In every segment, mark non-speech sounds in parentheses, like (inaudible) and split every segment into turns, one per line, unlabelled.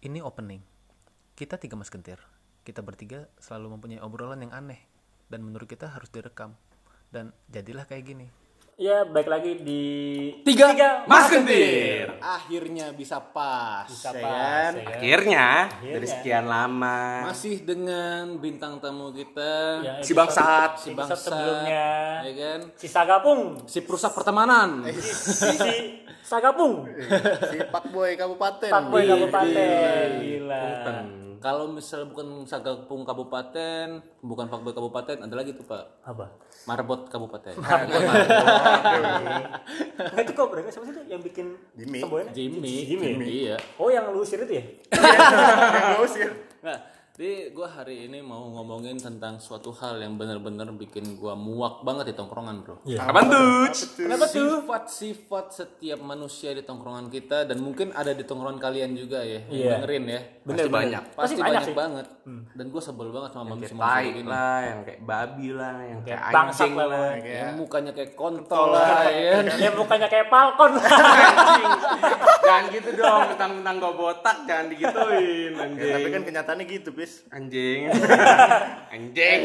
Ini opening. Kita tiga mas gentir. Kita bertiga selalu mempunyai obrolan yang aneh dan menurut kita harus direkam. Dan jadilah kayak gini.
Ya, baik lagi di
Tiga, Mas
Kentir.
Kentir.
akhirnya bisa pas,
Bisa
ya
pas, ya
kan?
kan?
Akhirnya, dari sekian lama.
masih dengan bintang tamu kita
Ya,
Si
episode-
bangsat.
si
episode
bangsa
sebelumnya.
ya kan
Si Sagapung.
si perusak pertemanan
si Sagapung.
si Pak Boy Kabupaten.
Pakboy Kabupaten. Gila.
kalau misal bukan Sagapung Kabupaten bukan Fakboy Kabupaten ada lagi tuh Pak
Apa?
Marbot
(laughs)
Kabupaten
Nah, itu kok berarti siapa sih itu yang bikin
Jimmy.
semboyannya?
Jimmy,
(laughs) Jimmy. ya?
iya
Oh, yang lu usir itu ya?
Yang usir.
nah jadi gue hari ini mau ngomongin tentang suatu hal yang bener-bener bikin gue muak banget di tongkrongan bro
Kapan tuh?
Kenapa tuh?
sifat-sifat setiap manusia di tongkrongan kita dan mungkin ada di tongkrongan kalian juga ya yang
Iya.
dengerin ya
Pasti banyak.
pasti,
Pasti banyak
banyak,
sih. Hmm.
banget dan gue sebel banget sama manusia manusia
Tai
begini
lah, yang kayak babi lah, yang kayak
bangsat
Ya, anjing
lah,
lah.
pokoknya.
kayak-
Iya.
yang mukanya kayak kontol lah ya
(laughs) Ya mukanya kayak Falcon.
Jangan gitu dong, tentang-tentang gue botak, jangan digituin,
Ya, tapi
anjing.
kan kenyataannya gitu, bis.
Anjing. Anjing.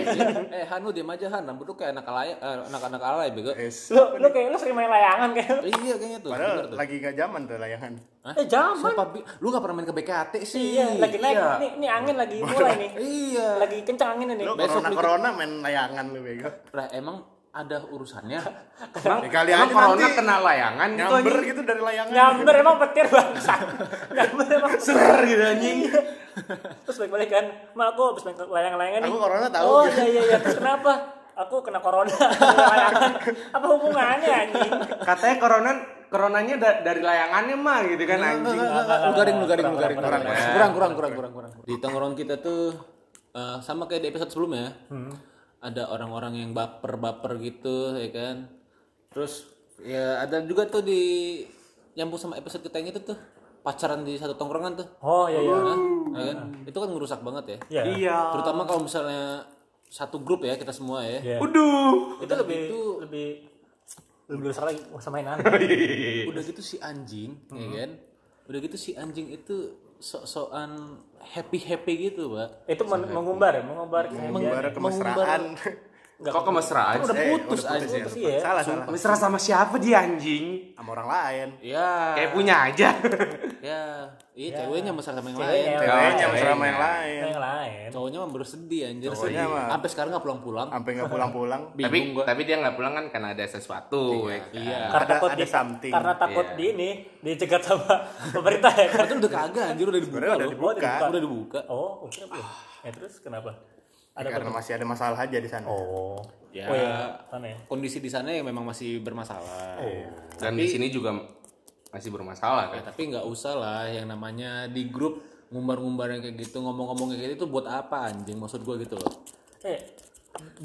eh Hanu diem aja Han rambut lu kayak anak alay eh, anak-anak alay bego
Yes.
lu lu kayak lu sering main layangan kayak.
iya kayaknya tuh bener
Padahal
tuh.
lagi gak zaman tuh layangan.
Eh, zaman.
Siapa bi- lu gak pernah main ke BKT sih
Iya, lagi naik. Nih, nih angin lagi mulai nih.
iya
Lagi kencang anginnya nih.
Lu
Besok
corona corona main layangan lu bego.
Lah, emang ada urusannya
Emang,
Ya, kali
emang
aja
corona
nanti
kena layangan gitu
Nyamber
anjing.
gitu dari layangan.
Nyamber emang petir bangsa. Nyamber emang petir. Iya.
Ser gitu anjing.
Terus balik-balik kan, "Ma, aku habis main ke layang-layangan nih."
Aku corona tahu.
Oh, iya iya iya. Terus kenapa? Aku kena corona. (laughs) Layangan. Apa hubungannya anjing?
Katanya corona coronanya da- dari layangannya mah gitu kan anjing.
lu garing lu garing lu garing kurang kurang kurang kurang kurang kurang di tongkrongan kita tuh eh, sama kayak di episode sebelumnya ada orang-orang yang baper-baper gitu ya kan terus ya ada juga tuh di nyambung sama episode kita yang itu tuh pacaran di satu tongkrongan tuh
Oh iya iya.
Hah? Ya kan? itu kan ngerusak banget ya
Iya.
Iya.
terutama kalau misalnya satu grup ya kita semua ya
Iya.
Aduh.
Itu lebih lebih lebih besar lagi wah sama mainan.
Oh, iya.
udah gitu si anjing ya kan udah gitu si anjing itu sok-sokan happy happy gitu pak
Itu men- mengumbar ya, mengumbar kebahagiaan.
Baru kemesraan.
Kok kemesraan?
Udah
Eh,
putus
udah
anjing.
ya,
Putus,
udah
iya.
putus. Salah, salah.
Mesra sama siapa dia anjing?
Sama orang lain.
ya
Kayak punya aja.
ya iya ceweknya mesra sama yang lain
Ceweknya.
Ya, Ceweknya mesra sama yang lain.
Yang lain.
cowoknya mah baru sedih anjir
Cowoknya
Sedih.
mah-
sampai sekarang nggak pulang-pulang
Sampai nggak pulang-pulang.
tapi
bingung gua
tapi dia nggak pulang kan karena ada sesuatu ya kan?
iya
Karena
Ada-
takut
ada
di,
something.
karena takut
Iya.
di ini dicegat sama (laughs) pemerintah ya. kan?
Padahal udah kagak anjir udah dibuka
Sebenarnya udah
loh
Oh,
dibuka.
udah dibuka
Oh, oke apa ya? Ya, terus kenapa? Ada
Karena
apa?
masih ada masalah aja di sana.
Oh.
Ya.
Oh iya, sana ya.
kondisi di sana ya memang masih bermasalah
dan di sini juga masih bermasalah
Ya,
kan
tapi nggak usah lah yang namanya di grup ngumbar-ngumbar yang kayak gitu ngomong-ngomong kayak gitu itu buat apa anjing maksud gua gitu loh
Eh,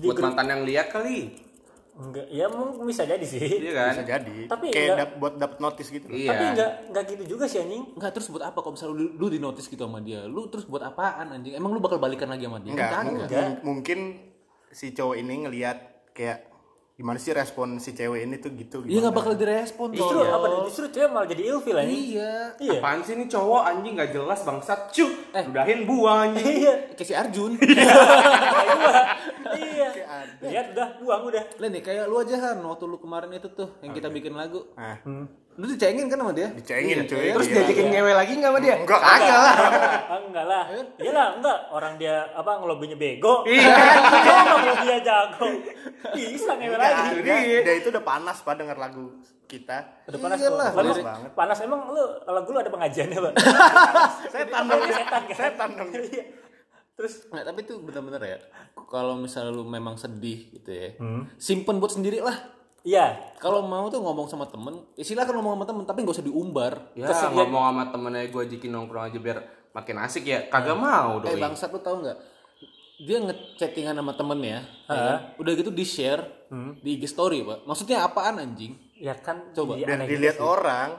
di
buat
grup-
mantan yang lihat kali
enggak, ya mungkin bisa jadi sih.
iya kan
Bisa jadi.
Tapi
Kayak
nggak-
dap- buat dapet notice gitu. loh.
iya
Tapi enggak enggak gitu juga sih anjing.
Enggak terus buat apa kalau misalnya lu, lu di notice gitu sama dia lu terus buat apaan anjing emang lu bakal balikan lagi sama dia
Enggak,
Kagak.
mung- mung- mungkin si cowok ini ngelihat kayak gimana sih respon si cewek ini tuh gitu
Iya
gimana.
nggak bakal direspon
Justru
Oh.
tolong.
apa justru cewek malah jadi ilfil anjing. (laughs)
Iya.
Iya.
apaan sih ini cowok anjing nggak jelas bangsat cu eh. udahin buang anjing
Iya.
Kayak si
(laughs)
Arjun.
(laughs)
Iya. Lihat udah buang udah.
Lah nih kayak lu aja Han waktu lu kemarin itu tuh yang kita bikin lagu.
Nah,
Hmm.
Lu dicengin kan sama dia?
dicengin cuy.
terus
Iya.
diajakin ngewe lagi nggak sama dia
Enggak.
kagak lah
Ah, enggak lah. Iyalah, enggak. Orang dia apa ngelobinya
(laughs)
bego.
Iya.
Kalau dia jago. Bisa ngewe lagi.
Nah, dia, dia itu udah panas pak denger lagu kita.
Udah panas,
Iyalah,
kok. panas,
lirik.
panas, emang lu lagu lu ada pengajiannya, Pak.
Setan dong.
Ini setan kan.
Setan dong.
Iya. Terus
Nah, tapi itu benar-benar ya. Kalau misalnya lu memang sedih gitu ya.
Hmm.
Simpen buat sendiri lah.
iya,
Kalau mau tuh ngomong sama temen, ya silakan ngomong sama temen, tapi nggak usah diumbar.
ya ngomong sama temennya gue ajakin nongkrong aja biar makin asik ya kagak mau
Eh
doi
bangsat lu tau nggak? Dia ngechattingan sama temennya, ya kan? udah gitu di share
Hmm.
di IG story pak. Maksudnya apaan anjing?
ya kan
Coba,
jadi
Dan
aneh
dilihat orang.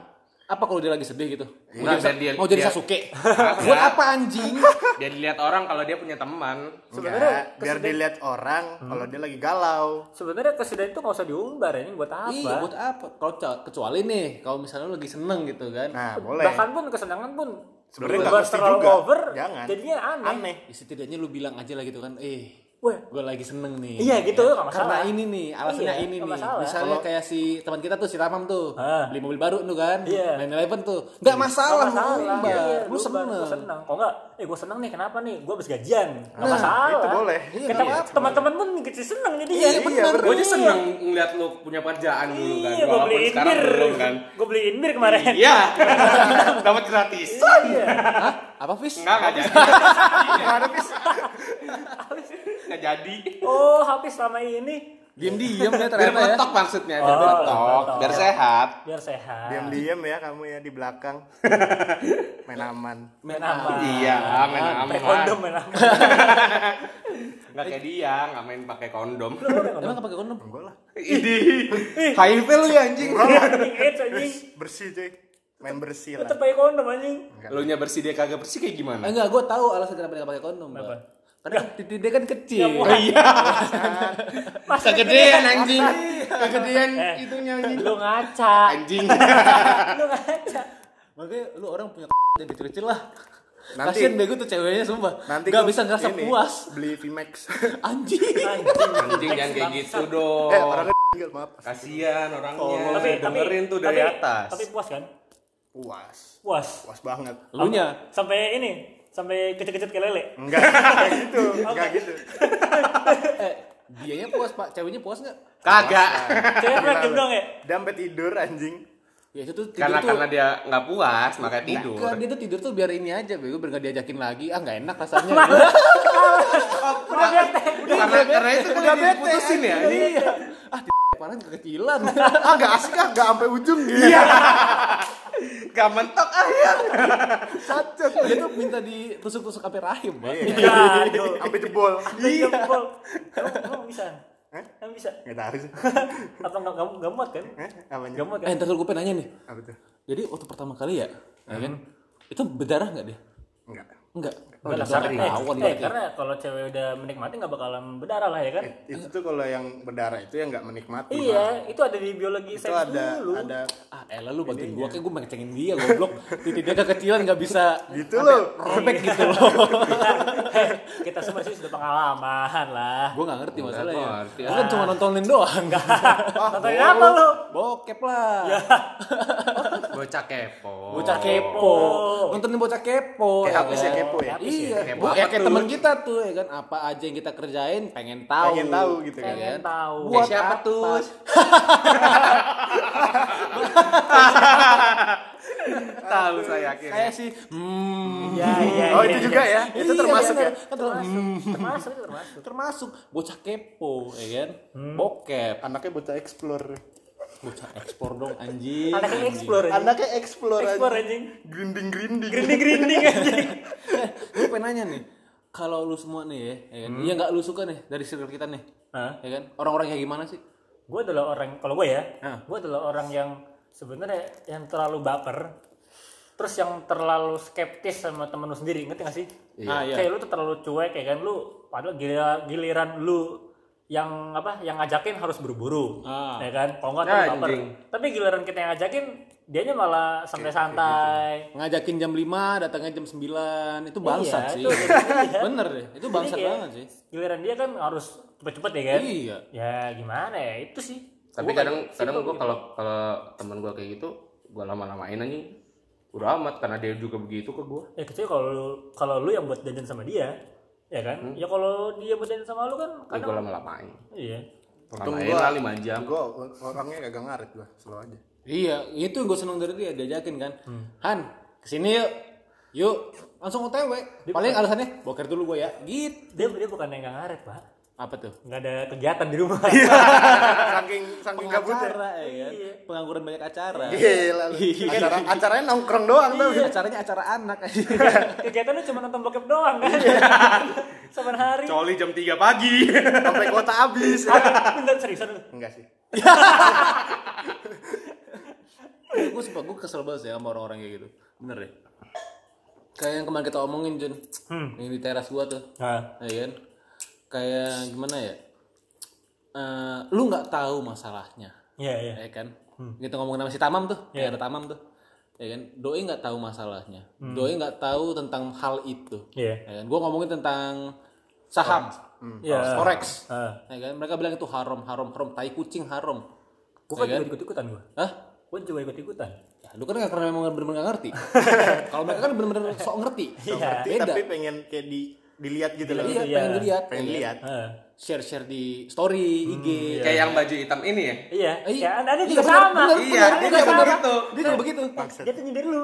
Apa kalau dia lagi sedih gitu? Mau
Nggak,
jadi,
biar dia-
mau jadi
(laughs)
biar-
Sasuke? (laughs) Buat apa anjing?
biar dilihat orang kalau dia punya teman
Sebenarnya biar dilihat orang kalau dia lagi galau.
Sebenarnya kesedihan itu nggak usah diumbar ya, ini buat apa?
Iya buat apa? Kalau kecuali nih, kalau misalnya lu lagi seneng gitu kan.
Nah, boleh.
Bahkan pun kesenangan pun
sebenarnya nggak
Bukan
mesti
terlalu
juga
over,
jangan
jadinya aneh.
aneh
Ya, setidaknya lu bilang aja lah gitu kan eh
Wah.
gue lagi seneng nih
Iya, gitu,
Ya,
nggak masalah.
karena ini nih alasannya
Iya,
ini
nggak
nih
masalah.
misalnya kayak si teman kita tuh si Ramam tuh
Ah.
beli mobil baru tuh kan
Iya.
main eleven tuh nggak masalah,
Nggak masalah.
Mbak.
Iya,
lu seneng
Gue seneng. Kalau enggak, eh gue seneng nih kenapa nih? Gue habis gajian. Nggak masalah.
itu boleh.
Kita- Teman-teman pun gitu seneng jadi ya.
Iya, bener.
Gue aja seneng ngeliat lu punya pekerjaan dulu kan.
Iya, gue
Walaupun
beli
sekarang
Inbir.
belum (laughs) kan.
Gue beli Inbir kemarin. Iya.
Iya. (laughs) Dapat gratisan.
Hah? apa Fis?
Enggak, enggak jadi. Enggak jadi.
Oh, habis selama ini
diem diem
(laughs)
ya
Biar
ternyata ya
meletok maksudnya, biar
Oh,
meletok,
meletok.
biar sehat.
biar sehat.
diam diam ya kamu ya di belakang main aman
Main aman.
Iya, amin
Ah, Pakai
aman.
kondom main aman.
Enggak kayak dia, nggak main pakai kondom.
emang pakai kondom
enggak lah
Idi. HIV lu ya anjing.
Anjing, AIDS Iya. anjing.
bersih cuy main bersih
Tetep
lah
pakai kondom anjing.
Lu nya bersih dia kagak bersih kayak gimana?
Eh, enggak gue tahu alasan kenapa dia nggak pakai kondom Mbak.
Kenapa?
karena titik dia kan kecil
Iya.
Masa
Kegedean anjing. Kegedean
Eh.
itunya anjing.
Lu ngaca.
Anjing.
Lu ngaca.
makanya lu orang punya (laughs) yang kecil kecil lah
Nanti-
Kasian bego tuh ceweknya sumpah
nanti gua
Nggak bisa ngerasa
ini,
puas
beli Vimax
(laughs)
(laughs)
Anjing
Anjing jangan kayak gitu dong.
eh
Oh.
orangnya tinggal maaf
Kasihan orangnya.
Oh, Tapi
dengerin
tapi-
tuh
tapi-
dari atas.
Tapi puas kan?
puas
Puas.
puas banget
Lu nya
Sampai ini, sampai kecet-kecet ke lele.
enggak (laughs) enggak gitu enggak gitu
Eh, dianya puas pak, ceweknya puas nggak?
Kagak.
Cewek flagship dong ya?
dia sampai tidur anjing
Ya itu tuh tidur
Karena
tuh.
karena dia nggak puas, makanya tidur.
Enggak, dia tuh tidur tuh biar ini aja, bego biar nggak diajakin lagi. Ah nggak enak
(laughs)
rasanya.
Udah bete.
Karena karena itu udah diputusin ya. anjing.
iya. Ah, di (laughs) panas kekecilan. (laughs)
ah enggak asik ah enggak sampai ujung gitu iya
Gak mentok ah ya.
sacet
dia tuh minta ditusuk-tusuk sampai rahim, Pak.
iya
Aduh.
sampai jebol
Iya. Emang emang bisa? Emang bisa?
enggak tahu sih
Atau nggak nggak nggak muat kan?
eh apanya
Nggak muat kan?
Eh, ntar dulu gue pengen nanya nih.
apa tuh
Jadi waktu pertama kali ya, ya kan? Itu berdarah nggak dia?
enggak
Enggak.
Nggak lah,
berdarah
karena- eh,
lawan
eh,
berarti.
karena kalau cewek udah menikmati nggak bakalan berdarah lah ya kan?
itu tuh kalau yang berdarah itu yang enggak menikmati
Iya, itu ada di biologi
itu
seks
ada
dulu.
ada
Ah, elah lu bantuin gua kayak gua ngecengin dia goblok. Titik dia kekecilan nggak bisa
gitu loh
robek gitu loh.
Kita semua sih sudah pengalaman lah.
Gue gak ngerti masalahnya.
gua ngerti.
Gue kan cuma nontonin doang. (laughs)
Nontonin apa lu?
Bokep lah.
Bocah kepo.
Bocah kepo. Nontonin bocah kepo.
kayak
ya
habis ya
kan?
kepo ya
Iya.
Kepo
Gua-
apa
ya kayak
tuh?
teman kita tuh ya kan apa aja yang kita kerjain pengen tahu.
pengen tahu gitu kan
Iya.
Pengen tahu.
Buat
siapa
apa?
tuh? Tahu saya
Kayak
akhirnya.
Eh, sih. Hmm.
Ya, ya,
Oh itu juga ya? Itu
Iya,
termasuk
bener.
ya?
Kan termasuk. Hmm.
Termasuk, itu termasuk.
Termasuk bocah kepo ya kan. Bokep.
Anaknya bocah explore.
Bocah ekspor dong anjing. (laughs)
Anaknya
anjing.
explore. anjing.
Anaknya explore.
Explore anjing.
Grinding grinding.
Grinding-grinding anjing.
gue pengen nanya nih kalau lu semua nih ya, ya kan? yang nggak lu suka nih dari circle kita nih
Hah?
ya kan orang-orang kayak gimana sih
gue adalah orang kalau gue ya
Hah.
gue adalah orang yang sebenarnya yang terlalu baper terus yang terlalu skeptis sama temen lu sendiri ngerti gak sih
Ah, iya.
kayak lu tuh terlalu cuek kayak kan lu padahal giliran, giliran lu yang apa yang ngajakin harus buru-buru
Ah.
ya kan kalau nggak terlalu baper
Anjing.
tapi giliran kita yang ngajakin dianya malah
gitu.
santai-santai
ngajakin jam 5 datangnya jam 9 itu
Iya,
bangsat sih
itu- iya.
(laughs) bener deh itu bangsat
Jadi kayak
banget sih
Iya. giliran dia kan harus cepet-cepet ya kan
iya
ya gimana ya itu sih
Tapi
Gua
kadang
kayak
kadang
simple
gua
gitu.
kalau kalau teman gua kayak gitu, gua lama-lamain anjing. Udah amat karena dia juga begitu ke gua.
ya kecuali kalau lu- kalau lu yang buat dandan sama dia ya kan ya kalau dia buat dandan sama lu kan
Ya,
kadang
gua lama-lamain.
iya
Lamain
gua-
lah 5 jam.
Gue orangnya kagak ngaret gue, slow aja.
iya itu yang gue seneng dari dia diajakin kan Han kesini yuk yuk langsung otw paling alasannya boker dulu gue ya gitu
dia dia bukan yang nggak ngaret pak
apa tuh
nggak ada kegiatan di rumah (laughs)
saking saking gabut ya. Iya.
acara ya kan pengangguran banyak acara
Gila lu. Acara acaranya nongkrong doang gitu. tuh.
acaranya acara (laughs) anak
kegiatan lu cuma nonton bokep doang kan (laughs) sama hari
Coli jam 3 pagi.
Sampai kota habis.
(laughs) bentar seriusan lu
Enggak sih.
gue suka gue kesel banget sih sama orang-orang kayak gitu bener ya kayak yang kemarin kita omongin Jun yang di teras gua tuh
nah,
ya kan kayak gimana ya Eh, lu nggak tahu masalahnya
iya iya
ya kan gitu ngomongin sama si Tamam tuh kayak ada Tamam tuh ya kan doi nggak tahu masalahnya doi nggak tahu tentang hal itu
Iya.
ya kan gue ngomongin tentang saham
Iya.
Forex.
Ah.
ya kan mereka bilang itu haram haram haram tai kucing haram
Gue kan juga ikut-ikutan gue.
Hah?
Gue juga ikut-ikutan.
Ya, lu kan nggak karena memang bener-bener nggak ngerti. Kalau mereka kan bener-bener sok ngerti.
Ngerti,
Nah, Beda.
tapi pengen kayak di dilihat gitu loh.
Iya.
Iya, pengen dilihat.
Pengen lihat.
Ah.
Share-share di story, IG.
Kayak yang baju hitam ini ya?
Iya.
Eh,
Ya, anda
iya,
juga
bener,
sama.
bener,
Iya,
bener,
dia
bener,
juga
bener.
begitu.
Dia juga begitu.
Dia tuh nyindir lu.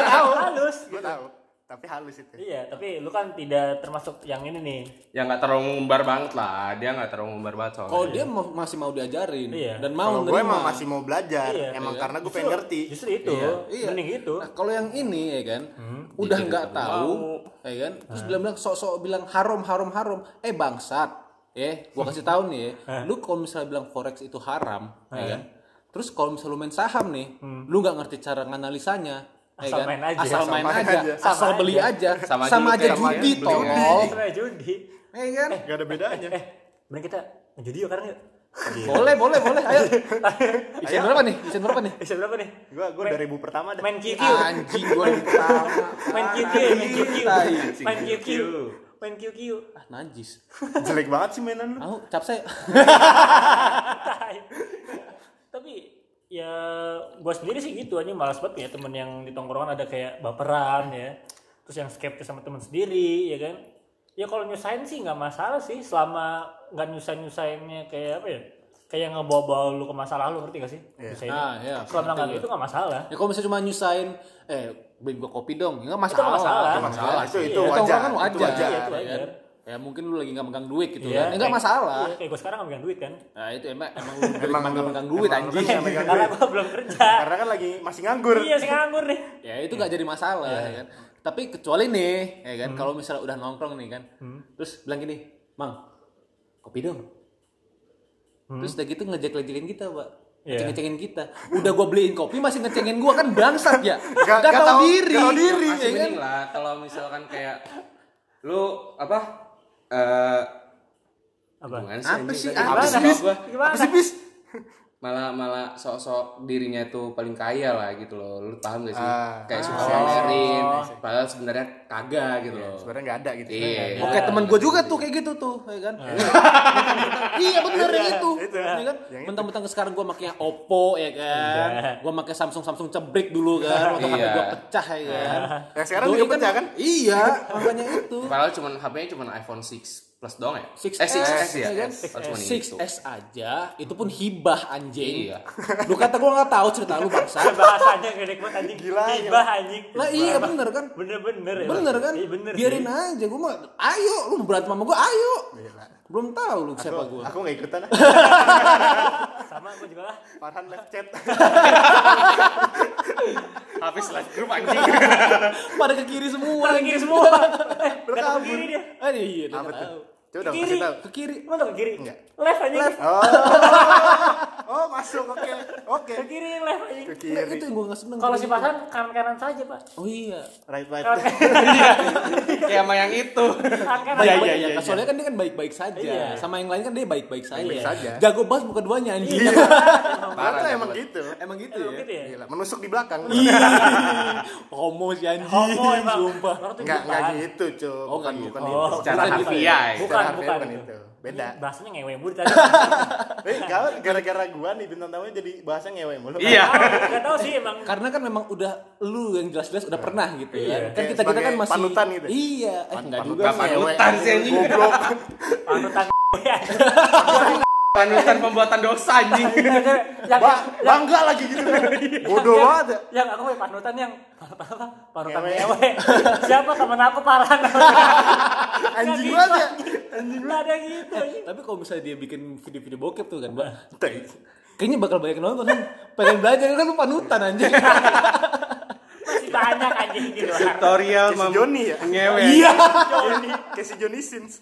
Tahu halus.
Gue tahu. Tapi halus itu.
Iya, tapi lu kan tidak termasuk yang ini nih.
Ya nggak terlalu ngumbar banget lah. Dia nggak terlalu ngumbar banget soalnya.
Kalau dia mau- masih mau diajarin
Iya.
dan mau
Kalau gue emang
nerima.
masih mau belajar,
Iya.
emang karena gue pengen ngerti.
Justru itu,
Iya.
mending itu.
Nah, kalau yang ini ya kan, udah nggak tahu, ya kan, terus bilang-bilang sok-sok bilang haram haram haram, eh bangsat, ya, gua kasih tahu nih ya, lu kalau misalnya bilang forex itu haram, ya kan, terus kalau misalnya lu main saham nih, lu nggak ngerti cara nganalisanya, ya
Asal
kan,
main aja.
Hmm. asal
Sama
main
aja.
aja,
Sama
asal
aja.
beli aja,
Sama
sama,
aja lu
aja
kayak main,
judi
beli aja.
tolol,
Kayak judi.
ya kan,
Gak Iya ada bedanya.
Eh, mending kita judi yuk sekarang yuk.
boleh boleh boleh, ayo, isian berapa nih, isian berapa nih,
Bisa Eh, berapa nih?
Gue gue dari ribu
(laughs)
pertama dah.
Main QQ.
anjing gua yang pertama,
Main QQ, main QQ.
Tai.
Main QQ. Main
(laughs)
QQ.
ah, najis,
Jelek banget sih mainan lu.
aku cap saya.
Tai. Tapi ya gua sendiri sih gitu aja malas banget punya temen yang di tongkrongan ada kayak baperan ya terus yang skeptis sama temen sendiri ya kan ya kalau nyusahin sih nggak masalah sih selama nggak nyusahin nyusahinnya kayak apa ya kayak ngebawa-bawa lu ke masalah lu ngerti gak sih Nyusahin.
Ah, iya.
selama nggak gitu nggak masalah
Ya kalau misalnya cuma nyusahin, eh beliin gua kopi dong, ya nggak
itu nggak
masalah.
masalah
Itu masalah.
Itu
Iya,
itu
itu
wajar.
orang kan
Itu wajar.
wajar.
Iya, itu
Ya,
wajar.
kan? ya mungkin lu lagi nggak megang duit gitu
Iya,
kan, ya nggak
kayak-
masalah.
iya, kayak gue sekarang nggak megang duit kan
Nah itu emang emang lu dari
Emang
kemarin nggak
lu-
megang Iya, duit
emang lu
anjing.
nggak megang
karena
duit.
gue belum kerja
Karena kan lagi masih nganggur.
iya sih nganggur nih
Ya itu nggak jadi masalah ya kan. Tapi kecuali nih, ya kan, kalau misalnya udah nongkrong nih kan, terus bilang gini, mang, kopi dong. Terus udah gitu ngejek-ngejekin kita, pak.
Iya.
Ngeceng-ngecengin kita. Udah gua beliin kopi masih ngecengin gua kan bangsat ya.
Nggak-
Gak,
nggak
tahu
tahu-
diri.
nggak tahu diri,
ya
Masih
kan?
mending lah kalau misalkan kayak lu apa? Eh
Apa?
gimana sih?
Apa
anjing
sih?
tadi?
Apa
Habis
sih?
sama gua.
gimana
Apa sih bis?
Malah malah sok-sok dirinya tuh paling kaya lah gitu loh. Lu paham gak sih?
Ah.
kayak suksesin, padahal sebenarnya kagak gitu loh.
Sebenarnya nggak ada gitu.
Iya.
Oke teman gue juga tuh kayak gitu tuh, ya kan? iya bener yang itu,
itu.
ya kan? Mentang-mentang sekarang gue makanya Oppo, ya kan? Gue pakai Samsung Samsung cebrik dulu kan,
Iya.
mentang-mentang gue pecah ya kan?
Ya, sekarang
Doi
juga pecah, kan?
Iya, makanya itu.
Padahal cuman HP-nya cuman iPhone 6 Plus doang ya?
6S,
eh, 6S ya?
ya kan?
Oh, cuman itu.
6S aja, itu pun hibah anjing.
Iya.
Lu kata gue nggak tahu cerita lu bangsa.
bahasanya gede banget anjing
Gila, ya.
Hibah, anjing
Lah iya bener kan?
bener-bener ya
Bener kan?
Iya, bener
Biarin
sih.
aja, gue mah, ayo, lu berantem sama gue, ayo. Belum tahu lu siapa
Aku,
gue.
aku nggak ikutan. ah.
sama aku juga lah
Farhan left chat.
Habis live group anjing.
Pada ke kiri semua.
Orang kiri
(laughs)
semua eh datang ke kiri dia
Ah, iya, dia
Apa
nggak
tuh?
tahu.
Coba dong
Kiri.
kasih tahu.
Ke kiri.
lu datang ke kiri
Enggak.
left anjing
Oh masuk oke oke.
ke kiri left anjing
Ke
Nah, itu
kiri.
yang gue nggak seneng.
kalau si Pasan kanan-kanan saja pak
Oh iya.
Right right.
Kayak sama yang itu.
kanan-kanan
Baik,
Iya,
iya,
iya,
iya,
iya, iya.
Soalnya kan dia kan baik-baik saja.
Iya.
Sama yang lain kan dia baik-baik saja.
Baik-baik saja.
Jago banget bukan duanya anjing.
Iya.
Parah,
Ternyata emang
emang.
gitu.
Emang gitu
Emang
ya.
gitu ya
Gila, menusuk di belakang.
Homo si anjing.
homo emang
Sumpah.
Orang tuh
Enggak enggak
apaan?
gitu, Cuk.
Oh, nggak
bukan
gitu.
bukan
Oh.
gitu.
Secara
Bukan gitu
harfiah ya.
bukan
Harfiah
bukan
bukan
itu
itu. Beda.
Ini Iya, bahasanya ngewe mulu tadi
(laughs)
(laughs)
Eh, kalau gara-gara gua nih bintang tamunya jadi bahasa ngewe mulu.
Iya.
gak tau sih emang
Karena kan memang udah lu yang jelas-jelas udah pernah gitu ya.
Iya.
Kan kita kita
Sebagai
kan masih
panutan gitu.
Iya, eh enggak juga.
Gak
sih.
panutan sih anjing.
Goblok.
panutan (laughs) ya
Panutan pembuatan dosa anjing.
yang
Ba- (laughs) Bangga lagi gitu. (laughs) Bodoh banget. ya.
yang aku kayak panutan yang panutan apa? Panutan
Ngewe.
ngewe. Siapa temen aku parah
Anjing banget ya.
Anjing banget. ada gitu. anjing.
Tapi kalau misalnya dia bikin video-video bokep tuh kan, Mbak.
Tai.
Kayaknya bakal banyak yang nonton kan. Pengen belajar kan lu panutan anjing.
Masih banyak anjing gitu. di luar.
Tutorial
Kayak si Joni ya.
ngewe.
Iya. (laughs)
Joni, kayak si Joni Sins.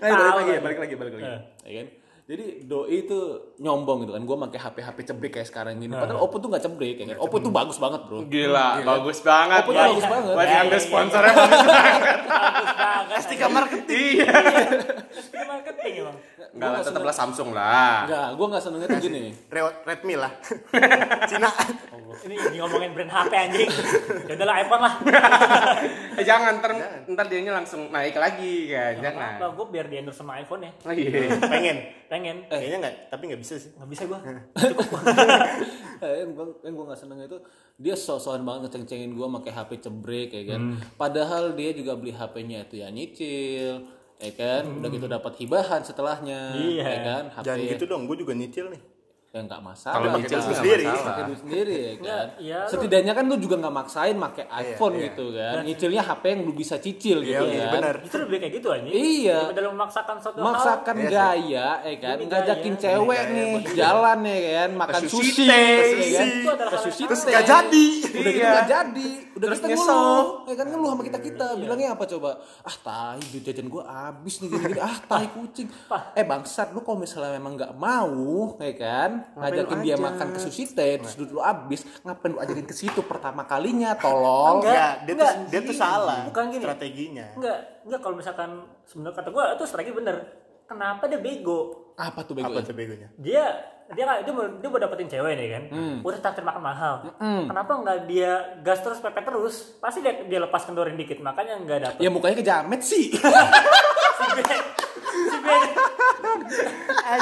Nah, balik lagi ya,
Tahu.
balik lagi, balik lagi.
Eh.
Ya kan? Jadi doi itu nyombong gitu kan. Gua pakai HP HP cebrik kayak sekarang gini. Padahal Oppo tuh nggak cebrik ya kan. Oppo tuh bagus banget, Bro.
Gila, bagus banget.
Oppo tuh
Iya.
bagus banget.
Iya,
Buat yang
iya,
ambil
iya.
sponsornya bagus banget.
Bagus banget.
Tiga marketing.
Iya.
Ini marketing emang.
Enggak lah, tetaplah Samsung lah.
Enggak, gue nggak senengnya tuh gini.
Re- Redmi
(laughs)
lah. Cina.
Ini ini ngomongin brand HP anjing. Ya udahlah iPhone lah.
Eh, jangan, ntar, ntar dianya langsung naik lagi kan. Jangan.
Apa gue biar di endorse sama iPhone ya?
Oh, iya.
(laughs) Pengen.
Pengen.
Eh. Kayaknya nggak, tapi nggak bisa sih.
Nggak bisa gue.
Eh, yang gue yang gua nggak seneng itu dia sosokan banget ngeceng-cengin gue pakai HP cebrek ya kan. Padahal dia juga beli HP-nya itu ya nyicil, ya kan. Udah gitu dapat hibahan setelahnya,
Iya.
ya kan. HP
Jangan gitu dong, gue juga nyicil nih.
ya nggak masalah.
Kalau
Pakai
nyicil
duit
sih nggak
sendiri.
masalah.
pakai duit sendiri ya kan.
iya, lu-
Setidaknya kan lu juga nggak maksain pakai iPhone gitu kan.
Nah.
Nyicilnya HP yang lu bisa cicil
Iya,
gitu
iya,
kan.
benar.
Justru lebih kayak gitu anjing.
Iya.
Daripada lu memaksakan suatu hal.
Iya,
Maksakan gaya, ya kan.
Ini
Ngajakin
gaya.
cewek nih jalan ya kan, makan
sushi
sushi,
teh,
ya kan.
sushi.
Itu adalah
Ke sushi
hal yang
Terus
teh.
nggak jadi.
Udah gitu gak jadi, udah
Iya. Terus
kita
nyesel.
ngeluh, ya kan ngeluh sama kita kita, bilangnya apa coba? Ah tai, duit jajan gue habis nih gini gini, ah tai kucing. Eh bangsat, lu kalau misalnya memang nggak mau, ya kan, ngajakin dia makan ke sushi teh, terus duit lu habis, ngapain lu ajakin ke situ pertama kalinya, tolong.
Enggak, dia tuh
Enggak,
dia tuh salah.
Bukan gini.
Strateginya.
Enggak, enggak kalau misalkan sebenarnya kata gue itu strategi bener. Kenapa dia bego?
Apa tuh bego?
Apa
ya?
tuh begonya?
Dia dia dia mau, dia mau dapetin cewek nih kan. Udah traktir makan mahal. Kenapa enggak dia gas terus pepet terus? Pasti dia dia lepas kendorin dikit, makanya enggak dapet.
Ya mukanya kejamet sih.
si Ben. Si Ben.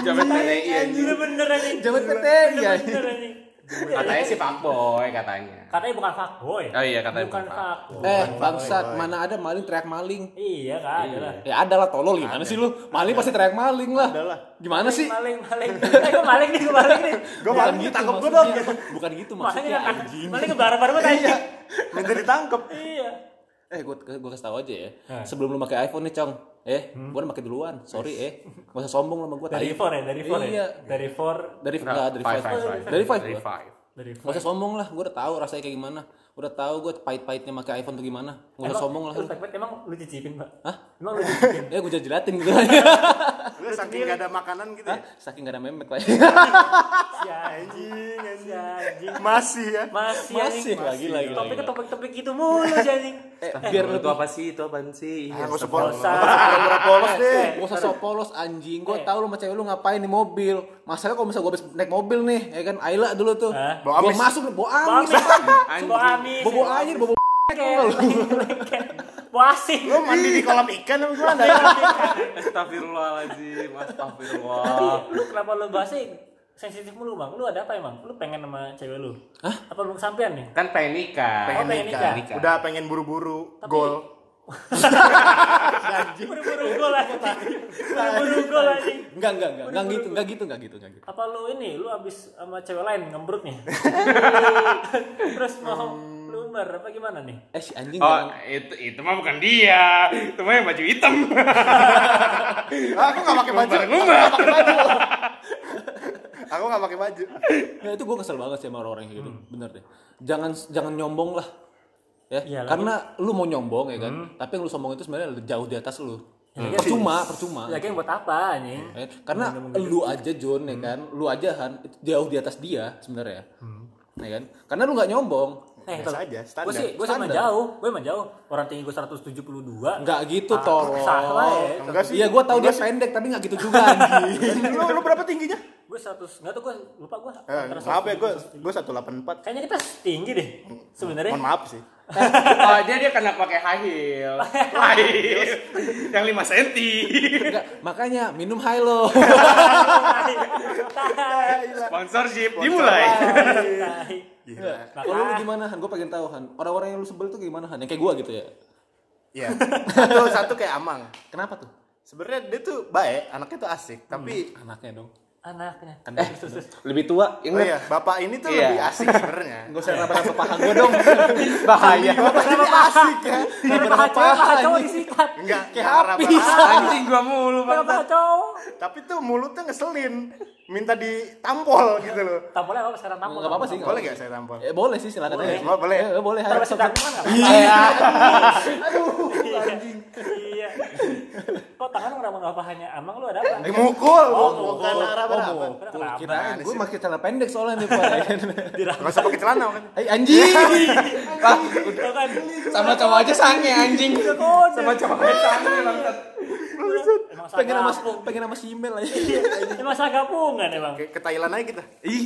Jamet PTI anjing.
Bener bener anjing.
Jamet PTI,
Bener
anjing.
bener anjing. Iya,
Katanya sih fuckboy katanya.
Katanya bukan fuckboy.
Oh iya, katanya
bukan
bukan
fuckboy.
eh bangsat, mana ada maling teriak maling.
Iya kan, adalah.
Ya ada lah tolol gimana sih lu? Maling pasti teriak maling lah.
Ada lah.
Gimana sih?
Maling, maling. Eh, gue maling nih, gue maling nih.
Gue
Bukan
malu
gitu
ditangkep gue dong.
maksudnya. Bukan gitu
Maling
maksudnya.
kan, maling ke barbar banget
Iya.
anjing.
Minta ditangkep.
Iya.
Eh, gue gue kasih tau aja ya. Sebelum lu pakai iPhone nih, Cong. Eh, gua udah pakai duluan. Sorry, eh. Gak usah sombong sama gua.
Hmm? Dari
tai.
four ya, dari four ya.
Iya.
Dari four,
Dari enggak dari
Five,
five.
five, five.
Dari five.
Dari
gua.
five.
dari
Gak usah sombong lah, gua udah tahu rasanya kayak gimana. Udah tahu gua pahit-pahitnya pakai iPhone tuh gimana. Gak usah sombong lah.
Lu
lu.
pepet emang lu cicipin, Pak?
Hah?
Emang lu cicipin?
Ya gua jilatin gitu.
Lu saking gak ada makanan gitu ya.
Saking gak ada memek lah.
(laughs)
ya.
Si anjing, si anjing.
Masih ya.
Masih anjing.
Masih lagi lagi. lagi.
Topiknya topik-topik gitu mulu si anjing.
(laughs) Eh, biar lu
itu apa sih? Itu apaan sih? Iya,
Ah, gak usah
stop.
polos.
Dosa.
Pura-pura polos deh.
Gua Eh, usah sok polos anjing, gua
Eh.
tahu lu sama cewek lu ngapain di mobil. Masalahnya kalau misalnya gua habis naik mobil nih, ya kan Ayla dulu tuh.
Hah?
Bawa
Gua
amis.
masuk nih, bawa amis.
Amis,
Anjing.
bobo amis.
Bobo air, bobo
Bobo asing.
Lu
Oh.
mandi di kolam ikan apa gimana?
Astagfirullahaladzim, astagfirullah.
Lu kenapa lu bahasnya sensitif mulu bang? Lu ada apa emang? Lu pengen sama cewek lu? Hah? Apa belum sampean nih? Oh,
Kan pengen nikah.
Pengen
Oh,
Pengen nikah.
nikah.
Udah pengen buru-buru. Gol.
Buru-buru gol anjing. Buru-buru gol anjing.
Enggak, enggak, enggak, enggak gitu, enggak gitu, enggak gitu, enggak gitu.
Apa lu ini? Lu abis sama cewek lain ngembrutnya?
(laughs)
Terus mau
Hmm.
lu umbar apa gimana nih?
Eh si anjing
Ah.
Oh,
jangan.
itu itu mah bukan dia. Itu mah yang baju hitam.
Ah, Aku gak pakai baju.
Ngumbar-ngumbar.
Aku gak pakai baju.
Nah, itu gue kesel banget sih sama orang-orang yang kayak
Hmm.
gitu. Bener deh. Jangan jangan nyombong lah. Ya,
Iya,
karena lu mau nyombong ya kan, tapi yang lu sombong itu sebenarnya jauh di atas lu.
Hmm.
Percuma, percuma.
Lagian buat apa anjing?
Iya.
Ya, Karena lu aja John ya kan,
Hmm.
lu aja Han itu jauh di atas dia sebenarnya. Ya kan? Karena lu nggak nyombong.
Eh,
Biasa aja, standar.
Gue sih, gue sama
Standar.
jauh, gue sama jauh. Orang tinggi gue 172.
Nggak gitu
Ah,
tolong.
Salah ya.
Enggak sih.
Iya, gua tahu dia pendek tapi nggak gitu juga anjing.
(laughs) Lu, lu berapa tingginya?
Gue 100, nggak tuh gue lupa gue.
Eh,
Antara
maaf ya,
170,
gue gue 184.
Kayaknya kita tinggi deh sebenarnya.
Mohon maaf sih.
Oh, dia dia kena pakai high heel. High heel. Yang 5 cm.
Nggak, makanya minum Hilo.
Sponsorship dimulai.
(laughs) Tai.
Gila.
Nah,
Kalau Oh, lu gimana Han? Gue pengen tahu Han. Orang-orang yang lu sebel tuh gimana Han? Yang kayak gua gitu ya.
Iya. Satu, satu kayak Amang.
Kenapa tuh?
Sebenarnya dia tuh baik, anaknya tuh asik, tapi
Anaknya dong.
Anaknya.
Lebih tua.
oh iya, bapak ini tuh
Iya.
lebih asik (laughs) sebenarnya.
Gak usah raba-raba paha gue dong. Bahaya.
Bapak ini asik ya.
Kenapa paha cowok, paha cowok disikat?
Enggak,
Kayak
nggak
api.
raba-raba.
Anjing gua mulu,
Kenapa
Bang.
paha cowok?
Tapi tuh mulutnya ngeselin, minta ditampol gitu loh.
Tampolnya apa sekarang tampol?
Gak apa-apa sih. nggak
Boleh
apa-apa.
nggak saya tampol?
Eh boleh sih silakan
Boleh.
aja.
Boleh, boleh.
Eh, boleh.
Taruh
Harus
sikat tangan nggak apa-apa?
Iya.
Iya. Iya. Kok tangan kenapa nggak pahanya? Amang lu ada apa?
Eh, mukul,
Oh,
mukul. bukan
mukul.
arah-arah.
Oh,
Kenapa?
kirain
Apaan
gue
sih?
masih celana pendek soalnya nih Pak. (laughs)
Enggak usah pakai celana kan.
Hai anjing. Bang,
Tuh kan.
sama cowok aja sange anjing. Iya,
Udah kode.
Sama cowok yang canggih, Bang.
Emang masalah
pengen sama
kampung.
pengen sama si email aja
Ini masalah kapungan emang.
Kayak ke Thailand aja gitu. kita
ih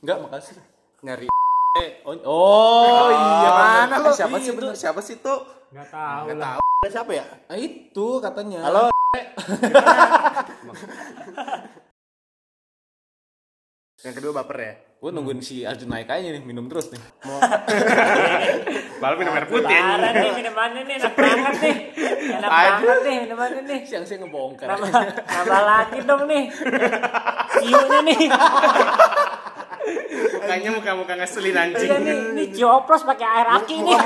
enggak makasih
nyari.
eh oh, oh iya
mana lu?
siapa sih bener? Siapa sih tuh?
Enggak tahu.
Gak tahu. Ada siapa ya?
Nah, itu katanya
Halo. Yang kedua baper
(laughs)
ya.
gue nungguin si Arjun naik aja nih minum terus nih
Baru minum air putih.
Parah nih minumannya nih enak banget nih. Enak banget nih minumannya nih.
siang-siang ngebongkar
Nambah nambah lagi dong nih. Ciunya nih.
Mukanya muka-muka ngeselin anjing.
Iya nih, ini cioplos pakai air aki nih.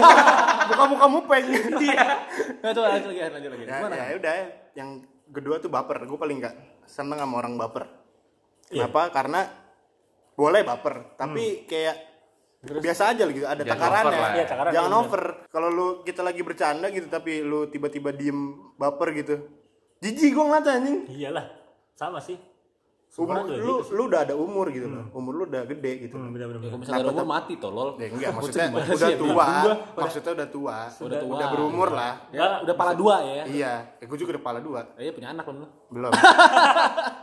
Buka-buka mupeng. (laughs)
Iya.
nggak tuh lanjut lagi lanjut lagi
Nah,
gimana
Iya. ya udah yang kedua tuh baper gue paling nggak seneng sama orang baper
Iya.
kenapa karena boleh baper tapi kayak biasa aja gitu ada
Hmm. Jangan
takarannya
over lah ya.
Iya, takarannya,
jangan
bener.
over kalau lu kita lagi bercanda gitu tapi lu tiba-tiba diem baper gitu jijik gue ngeliatnya anjing
Iyalah. Sama sih. Semua
umur
juga
ya
lu lu udah ada umur gitu
Hmm.
loh umur lu udah gede gitu
Hmm, benar-benar.
kalau misalnya gue mati tolol
Ya, enggak maksudnya
gimana
udah
sih ya,
tua maksudnya udah tua udah,
tua.
berumur lah
Iya.
ya udah pala dua ya
iya ya, gue juga udah kepala dua
Iya punya anak belum lu?
belum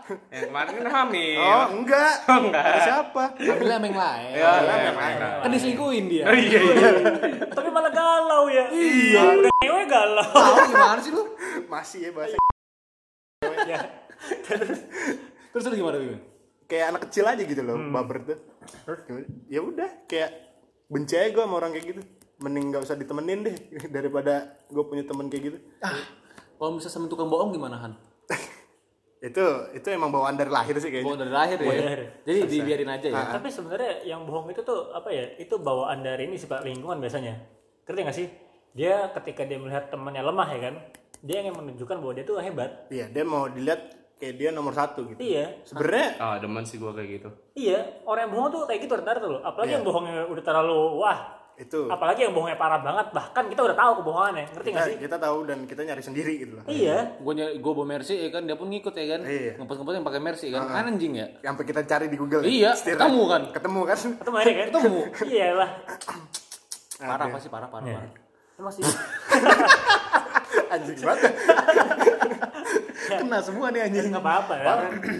Yang kemarin kan hamil.
oh enggak
Oh, enggak.
Ada siapa
Ambilnya emang lain.
Ya,
Iya.
ya, ya.
Kan diselingkuhin dia.
Iya, iya.
Tapi malah galau ya. Iya. Udah cewek galau.
Tahu gimana sih lu?
masih ya bahasa
Ya.
Terus lu gimana Bim?
kayak anak kecil aja gitu loh baper tuh ya udah kayak benci aja gue sama orang kayak gitu mending gak usah ditemenin deh (laughs) daripada gue punya temen kayak gitu
Ah, kalau misalnya sama tukang bohong gimana Han?
itu itu emang bawaan dari lahir sih
Bohong
kayaknya
dari lahir ya.
Bohong dari-
Jadi dibiarin aja ya.
Ah.
Tapi sebenarnya yang bohong itu tuh apa ya? Itu bawaan dari ini sih Pak lingkungan biasanya. Ngerti nggak sih? Dia ketika dia melihat temannya lemah ya kan, dia ingin menunjukkan bahwa dia tuh hebat.
iya dia mau dilihat kayak dia nomor satu gitu
Iya,
sebenarnya
Ah, demen sih gua kayak gitu.
iya. Orang yang bohong tuh kayak gitu rentan tuh. loh. Apalagi
Iya.
yang bohongnya udah terlalu wah.
itu
Apalagi yang bohongnya parah banget. Bahkan kita udah tahu kebohongannya. Ngerti
kita,
nggak sih?
kita tahu dan kita nyari sendiri gitu loh
Iya.
Gue nyari gue bawa mercy ya kan dia pun ngikut ya kan.
Iya. Ah.
Ngempet-ngempet yang pakai mercy kan. Kan anjing ya.
sampai kita cari di Google
Iya,
Setir-
ketemu kan?
ketemu kan (laughs)
Ketemu akhirnya kan?
Ketemu.
Iyalah.
Parah pasti parah parah.
Iya.
parah.
Emang sih.
anjing banget (laughs) kena semua nih anjing
Nggak apa-apa ya.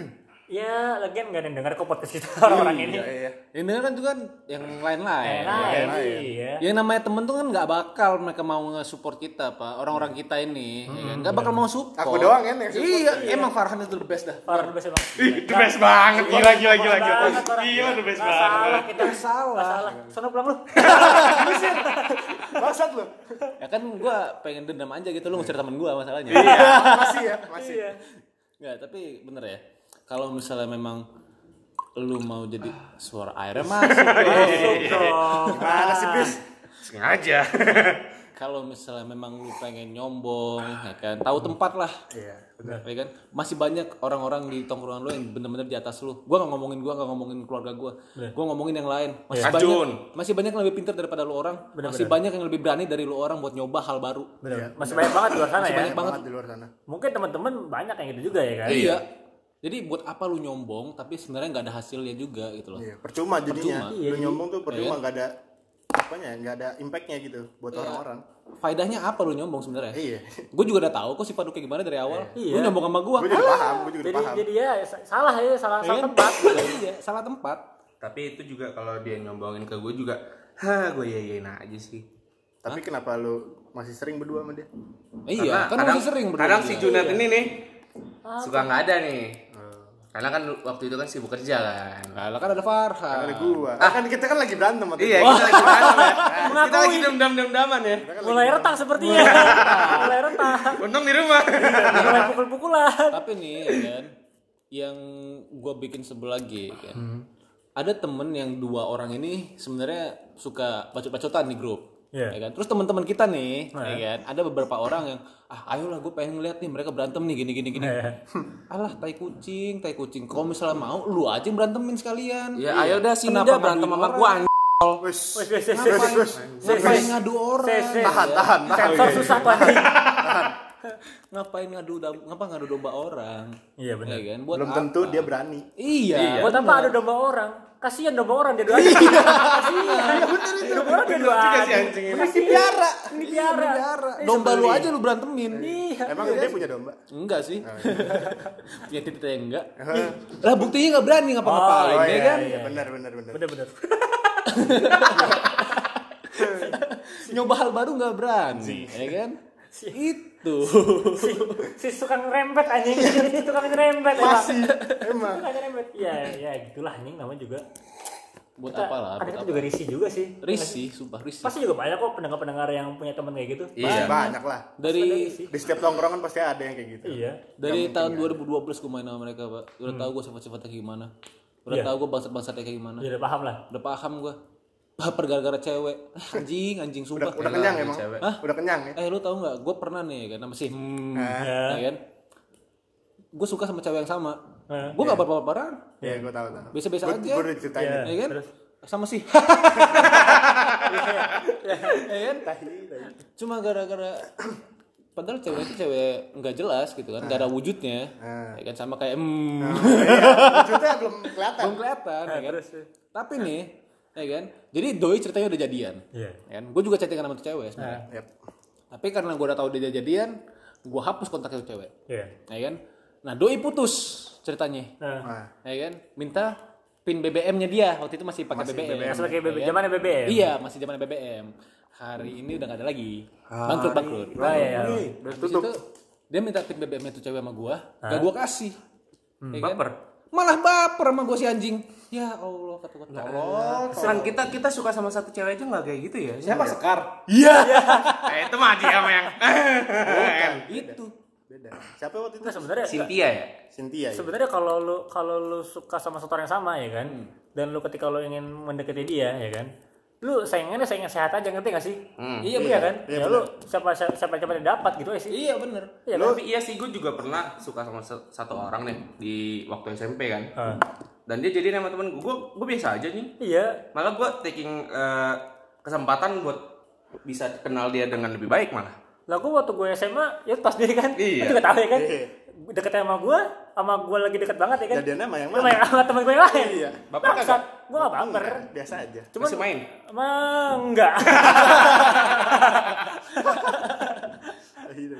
(clears throat) ya, lagian nggak ada yang dengar kok podcast kita (laughs) orang-orang ini.
iya
Yang denger kan juga kan yang lain-lain.
Lain,
lain.
iya.
Yang namanya temen tuh kan nggak bakal mereka mau nge-support kita, Pak. Orang-orang kita ini ya kan? nggak bakal mau support.
Hmm. Aku doang kan yang support.
Iya, emang Farhan itu the best dah.
Orang bebas emang.
Ih, the best banget. Gila, gila, gila, gila.
Parah banget orang.
Gila, the best
Nggak Salah
banget.
kita salah. Salah. Sono pulang lu.
bangsat lu
Ya kan gua pengen dendam aja gitu lu ngusir temen gua masalahnya.
masih ya masih
Iya.
Enggak, tapi bener ya. Kalau misalnya memang lu mau jadi suara airnya masuk.
Masuk dong.
Gimana sih
Iya.
Ah, bis?
Sengaja.
Kalau misalnya memang lu pengen nyombong, ya kan, tahu tempat lah.
Iya.
Ya kan? Masih banyak orang-orang di tongkrongan lu yang bener-bener di atas lu. Gua nggak ngomongin gua, nggak ngomongin keluarga gua. Gua ngomongin yang lain. Masih
Iya.
banyak
Ajun.
masih banyak yang lebih pintar daripada lu orang. Masih banyak yang lebih berani dari lu orang buat nyoba hal baru.
Masih banyak banget di luar sana ya.
Banyak banget.
di luar sana.
Mungkin teman-teman banyak yang gitu juga ya kan.
Iya. Jadi buat apa lu nyombong tapi sebenarnya nggak ada hasilnya juga gitu loh.
Iya, percuma jadinya.
Iya,
Percuma.
Lu nyombong tuh percuma nggak ada apanya, nggak ada impactnya gitu buat
Iya.
orang-orang.
Faedahnya apa lu nyombong sebenarnya?
Iya.
gue juga udah tahu kok sifat lu kayak gimana dari awal.
Iya.
Lu nyombong sama gue.
Gue juga paham, gue juga
Jadi
paham.
jadi ya sa- salah ya salah salah tempat.
iya, salah tempat.
Tapi itu juga kalau dia nyombongin ke gue juga, ha gue yayain aja sih.
Tapi kenapa lu masih sering berdua sama dia?
Iya, kan masih sering berdua.
kadang si
dia.
Junat ini nih suka nggak ada nih. Karena kan waktu itu kan sibuk kerja kan.
Nah, lah kan ada Farhan.
Ada gua. Ah. Kan kita kan lagi berantem sama
Iya, kita lagi berantem (laughs) ya. Kita lagi dendam-dendaman ya.
Mulai retak sepertinya. Mulai retak.
Untung di rumah.
Mulai pukul-pukulan.
Tapi nih, ya kan, yang gue bikin sebel lagi, ya kan.
Hmm.
Ada temen yang dua orang ini sebenarnya suka bacot-bacotan di grup.
Iya. Nah.
Ya kan? Terus teman-teman kita nih, ya kan, ada beberapa orang yang ah ayolah gue pengen ngeliat nih mereka berantem nih gini gini gini.
Iya.
(laughs) Alah tai kucing, tai kucing. Kalau misalnya mau lu aja yang berantemin sekalian.
(laughs)
Iya.
Ya ayo dah sini
Kenapa
dah berantem
ngaduin
sama Iya,
orang?
gue anjing.
Wes.
Wes, wes, wes,
Wes, wes.
Ngapain ngadu orang?
Ses, ses.
Tahan, tahan, tahan.
Sensor susah tuh anjing.
ngapain ngadu dom- ngapa ngadu domba orang
Iya benar.
ya kan buat
belum
apa?
tentu dia berani
iya,
Buat apa ada domba orang? Kasihan domba orang
Iya.
dia dua Kasihan. Domba orang dia dua
juga sih anjing ini.
masih piara Iya,
Ini piara.
domba lu aja lu berantemin
Iya.
emang dia punya domba
enggak sih
Oh, iya.
(laughs) punya titik yang enggak lah buktinya nggak berani ngapa-ngapain
oh
ya
iya,
kan
iya benar benar benar
Bener-bener.
nyoba hal baru nggak berani ya kan itu
Si, (laughs) si tukang rembet anjing.
Iya.
Si tukang rembet. emang. (laughs)
masih emang
Tukang rembet. Iya, iya gitulah anjing namanya juga.
buat apa lah
Ada itu juga risih juga sih.
risih sumpah risih
Pasti juga banyak kok pendengar-pendengar yang punya teman kayak gitu.
Iya.
Masih banyak lah
dari
di setiap tongkrongan pasti ada yang kayak gitu
Iya.
Dari tahun 2012 gue main sama mereka, Pak. Udah
Hmm.
tau gue sifat-sifatnya kayak gimana.
Iya.
Udah tau gue bangsat-bangsatnya kayak gimana.
Ya udah paham lah.
Udah paham gue. Baper gara-gara
(laughs)
cewek. Ah, Anjing, anjing sumpah.
udah kenyang emang
cewek.
udah kenyang ya
Eh, lu tau gak? Gue pernah nih, kan, masih hmm, ya kan? Gue suka sama cewek yang sama. Gue gak baper-baperan.
ya gue tahu tahu
Biasa-biasa
Gua-
aja.
gua udah ceritain
Iya.
Ya kan? Sama sih. (laughs) ya kan? Cuma gara-gara padahal cewek itu cewek nggak jelas gitu kan, nggak ada wujudnya. Ya kan sama kayak hmm.
(laughs) wujudnya belum kelihatan
belum kelihatan ya kan? tapi nih ya kan jadi doi ceritanya udah jadian
Iya.
ya kan gue juga chattingan sama tuh cewek sebenarnya
Yap.
tapi karena gue udah tahu dia jadian gue hapus kontak itu cewek
Iya.
ya kan nah doi putus ceritanya
Nah,
Nah,
ya kan minta pin BBM-nya dia waktu itu masih pakai BBM,
masih pakai BB, zamannya BBM.
Nah, Ya kan? iya masih zaman BBM hari ini udah gak ada lagi bangkrut bangkrut
Nah, iya, iya.
Udah tutup. dia minta pin BBM-nya tuh cewek sama gua, gak gua kasih. Ya kan?
Hmm, baper.
Malah baper sama gua si anjing. Ya Allah, kata gua. Tolong.
Kan
Serang kita kita suka sama satu cewek aja nggak kayak gitu ya?
Siapa Sekar?
(laughs) Eh, itu mah dia mah yang. (laughs)
Itu.
beda siapa waktu itu
Nah, sebenarnya
Cynthia ya?
Cynthia ya?
sebenarnya kalau lu kalau lu suka sama seseorang yang sama ya kan
Hmm.
dan lu ketika lu ingin mendekati dia ya kan lu saingannya saingan sehat aja ngerti gak sih
Hmm.
iya iya kan ya lu siapa siapa siapa yang dapat gitu aja sih
Iya bener.
iya kan?
Tapi iya sih gue juga pernah suka sama se- satu orang nih di waktu SMP kan. Dan dia jadi sama temen gue. Gue biasa aja nih.
iya
Malah gue taking eh, kesempatan buat bisa kenal dia dengan lebih baik malah.
lah gua waktu gue SMA ya pas diri kan Lu
Iya.
juga tahu ya kan deket sama gue sama gue lagi deket banget ya kan
Jadiannya sama yang
sama,
mana?
sama temen gue yang lain
Iya.
Baper kagak?
Bangsat, gua gak baper
Enggak, Oh, iya. biasa aja
Cuman Masih main.
emang enggak
Gitu.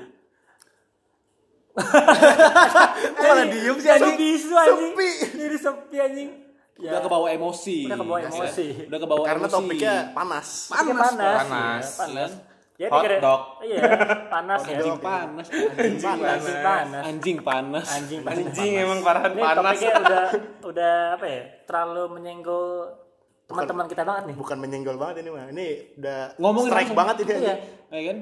malah diem sih anjing.
Sepi, anjing Ini sepi anjing Ya.
Udah kebawa emosi. Ya
Udah
kan?
kebawa emosi.
Udah kebawa
karena
emosi.
topiknya panas
Iya, panas panas
panas.
ya, panas ya,
Hot
dikira-
dog.
iya panas ya
Anjing panas. Anjing panas.
anjing panas
Anjing panas.
anjing panas
Anjing emang parahan
ini
panas.
topiknya udah udah apa ya terlalu menyenggol teman-teman kita banget nih Ya,
bukan menyenggol banget ini mah ini udah
Ngomongin
strike
langsung.
banget ini
iya
anjing.
Ya kan?
ya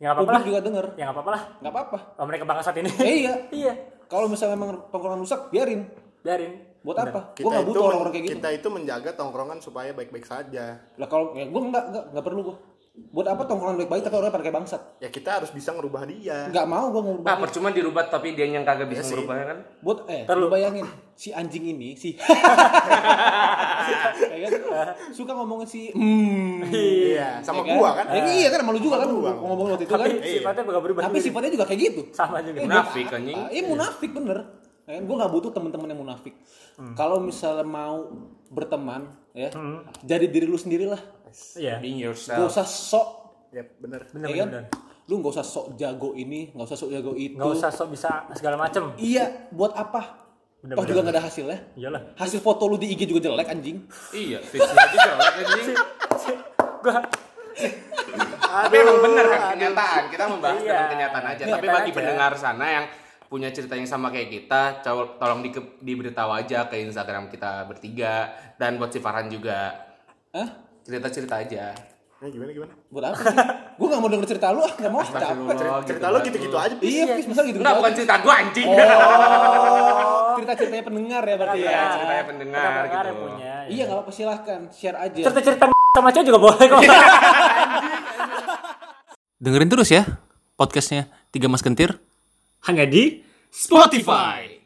nggak apa-apa
Publik
lah
juga denger.
ya nggak apa-apa lah
Gak
(laughs)
apa-apa.
oh, mereka bangsat ini (laughs)
Eh, iya.
iya
Kalau misalnya memang tongkrongan rusak, biarin.
biarin
Buat apa? Gue gak butuh
men-
orang-orang kayak gitu.
kita itu menjaga tongkrongan supaya baik-baik saja
Lah kalau ya, gue enggak, enggak, enggak perlu gue. Buat apa tongkrongan baik-baik tapi orangnya pakai bangsat?
ya kita harus bisa ngerubah dia
Enggak mau gue ngubah.
Ah, percuma dirubah tapi dia yang kagak
Iya
bisa merubahnya kan.
buat eh
Ntar lu-
lu bayangin si anjing ini si (laughs) ya kan? suka ngomongin si mm,
iya sama
ya
gua kan
Ya, iya kan malu juga kan ngomongin waktu itu kan
tapi sifatnya nggak berubah
tapi sifatnya juga kayak gitu
sama juga
Munafik anjing.
Ah, iya munafik bener ya, gue nggak butuh teman-teman yang munafik
Hmm.
kalau misalnya mau berteman ya jadi diri lu sendirilah
Nah.
iya
Being
gak
yourself.
usah sok
ya bener
ya kan lu gak usah sok jago ini gak usah sok jago itu
nggak usah sok bisa segala macem
Gitu. iya buat apa Toh juga gak ada hasilnya
iyalah
hasil foto lu di IG juga jelek anjing
Iya, fixnya aja jelek anjing.
gua
Tapi emang bener kan kenyataan. Kita membahas
Iya.
tentang kenyataan aja. Tapi
Kenyataan
bagi
aja.
pendengar sana yang punya cerita yang sama kayak kita, cowok- tolong di, diberitahu aja ke Instagram kita bertiga dan buat si Farhan juga.
Hah?
Cerita-cerita aja.
ya gimana gimana
buat
(laughs)
apa sih? gue gak mau denger cerita lu ah gak mau capek
Astagfirullah, ya.
cerita lo
banget
gitu-gitu
lu.
aja Pi.
iya Fis, misal gitu
Enggak, bukan cerita gua anjing.
Oh.
cerita ceritanya pendengar ya berarti
Iya,
ya
ceritanya pendengar
pendengar yang
gitu.
punya ya.
iya gak apa-apa silahkan share aja
cerita-cerita sama cewek juga boleh kok
Dengerin terus ya podcastnya Tiga Mas Kentir.
hanya di
Spotify.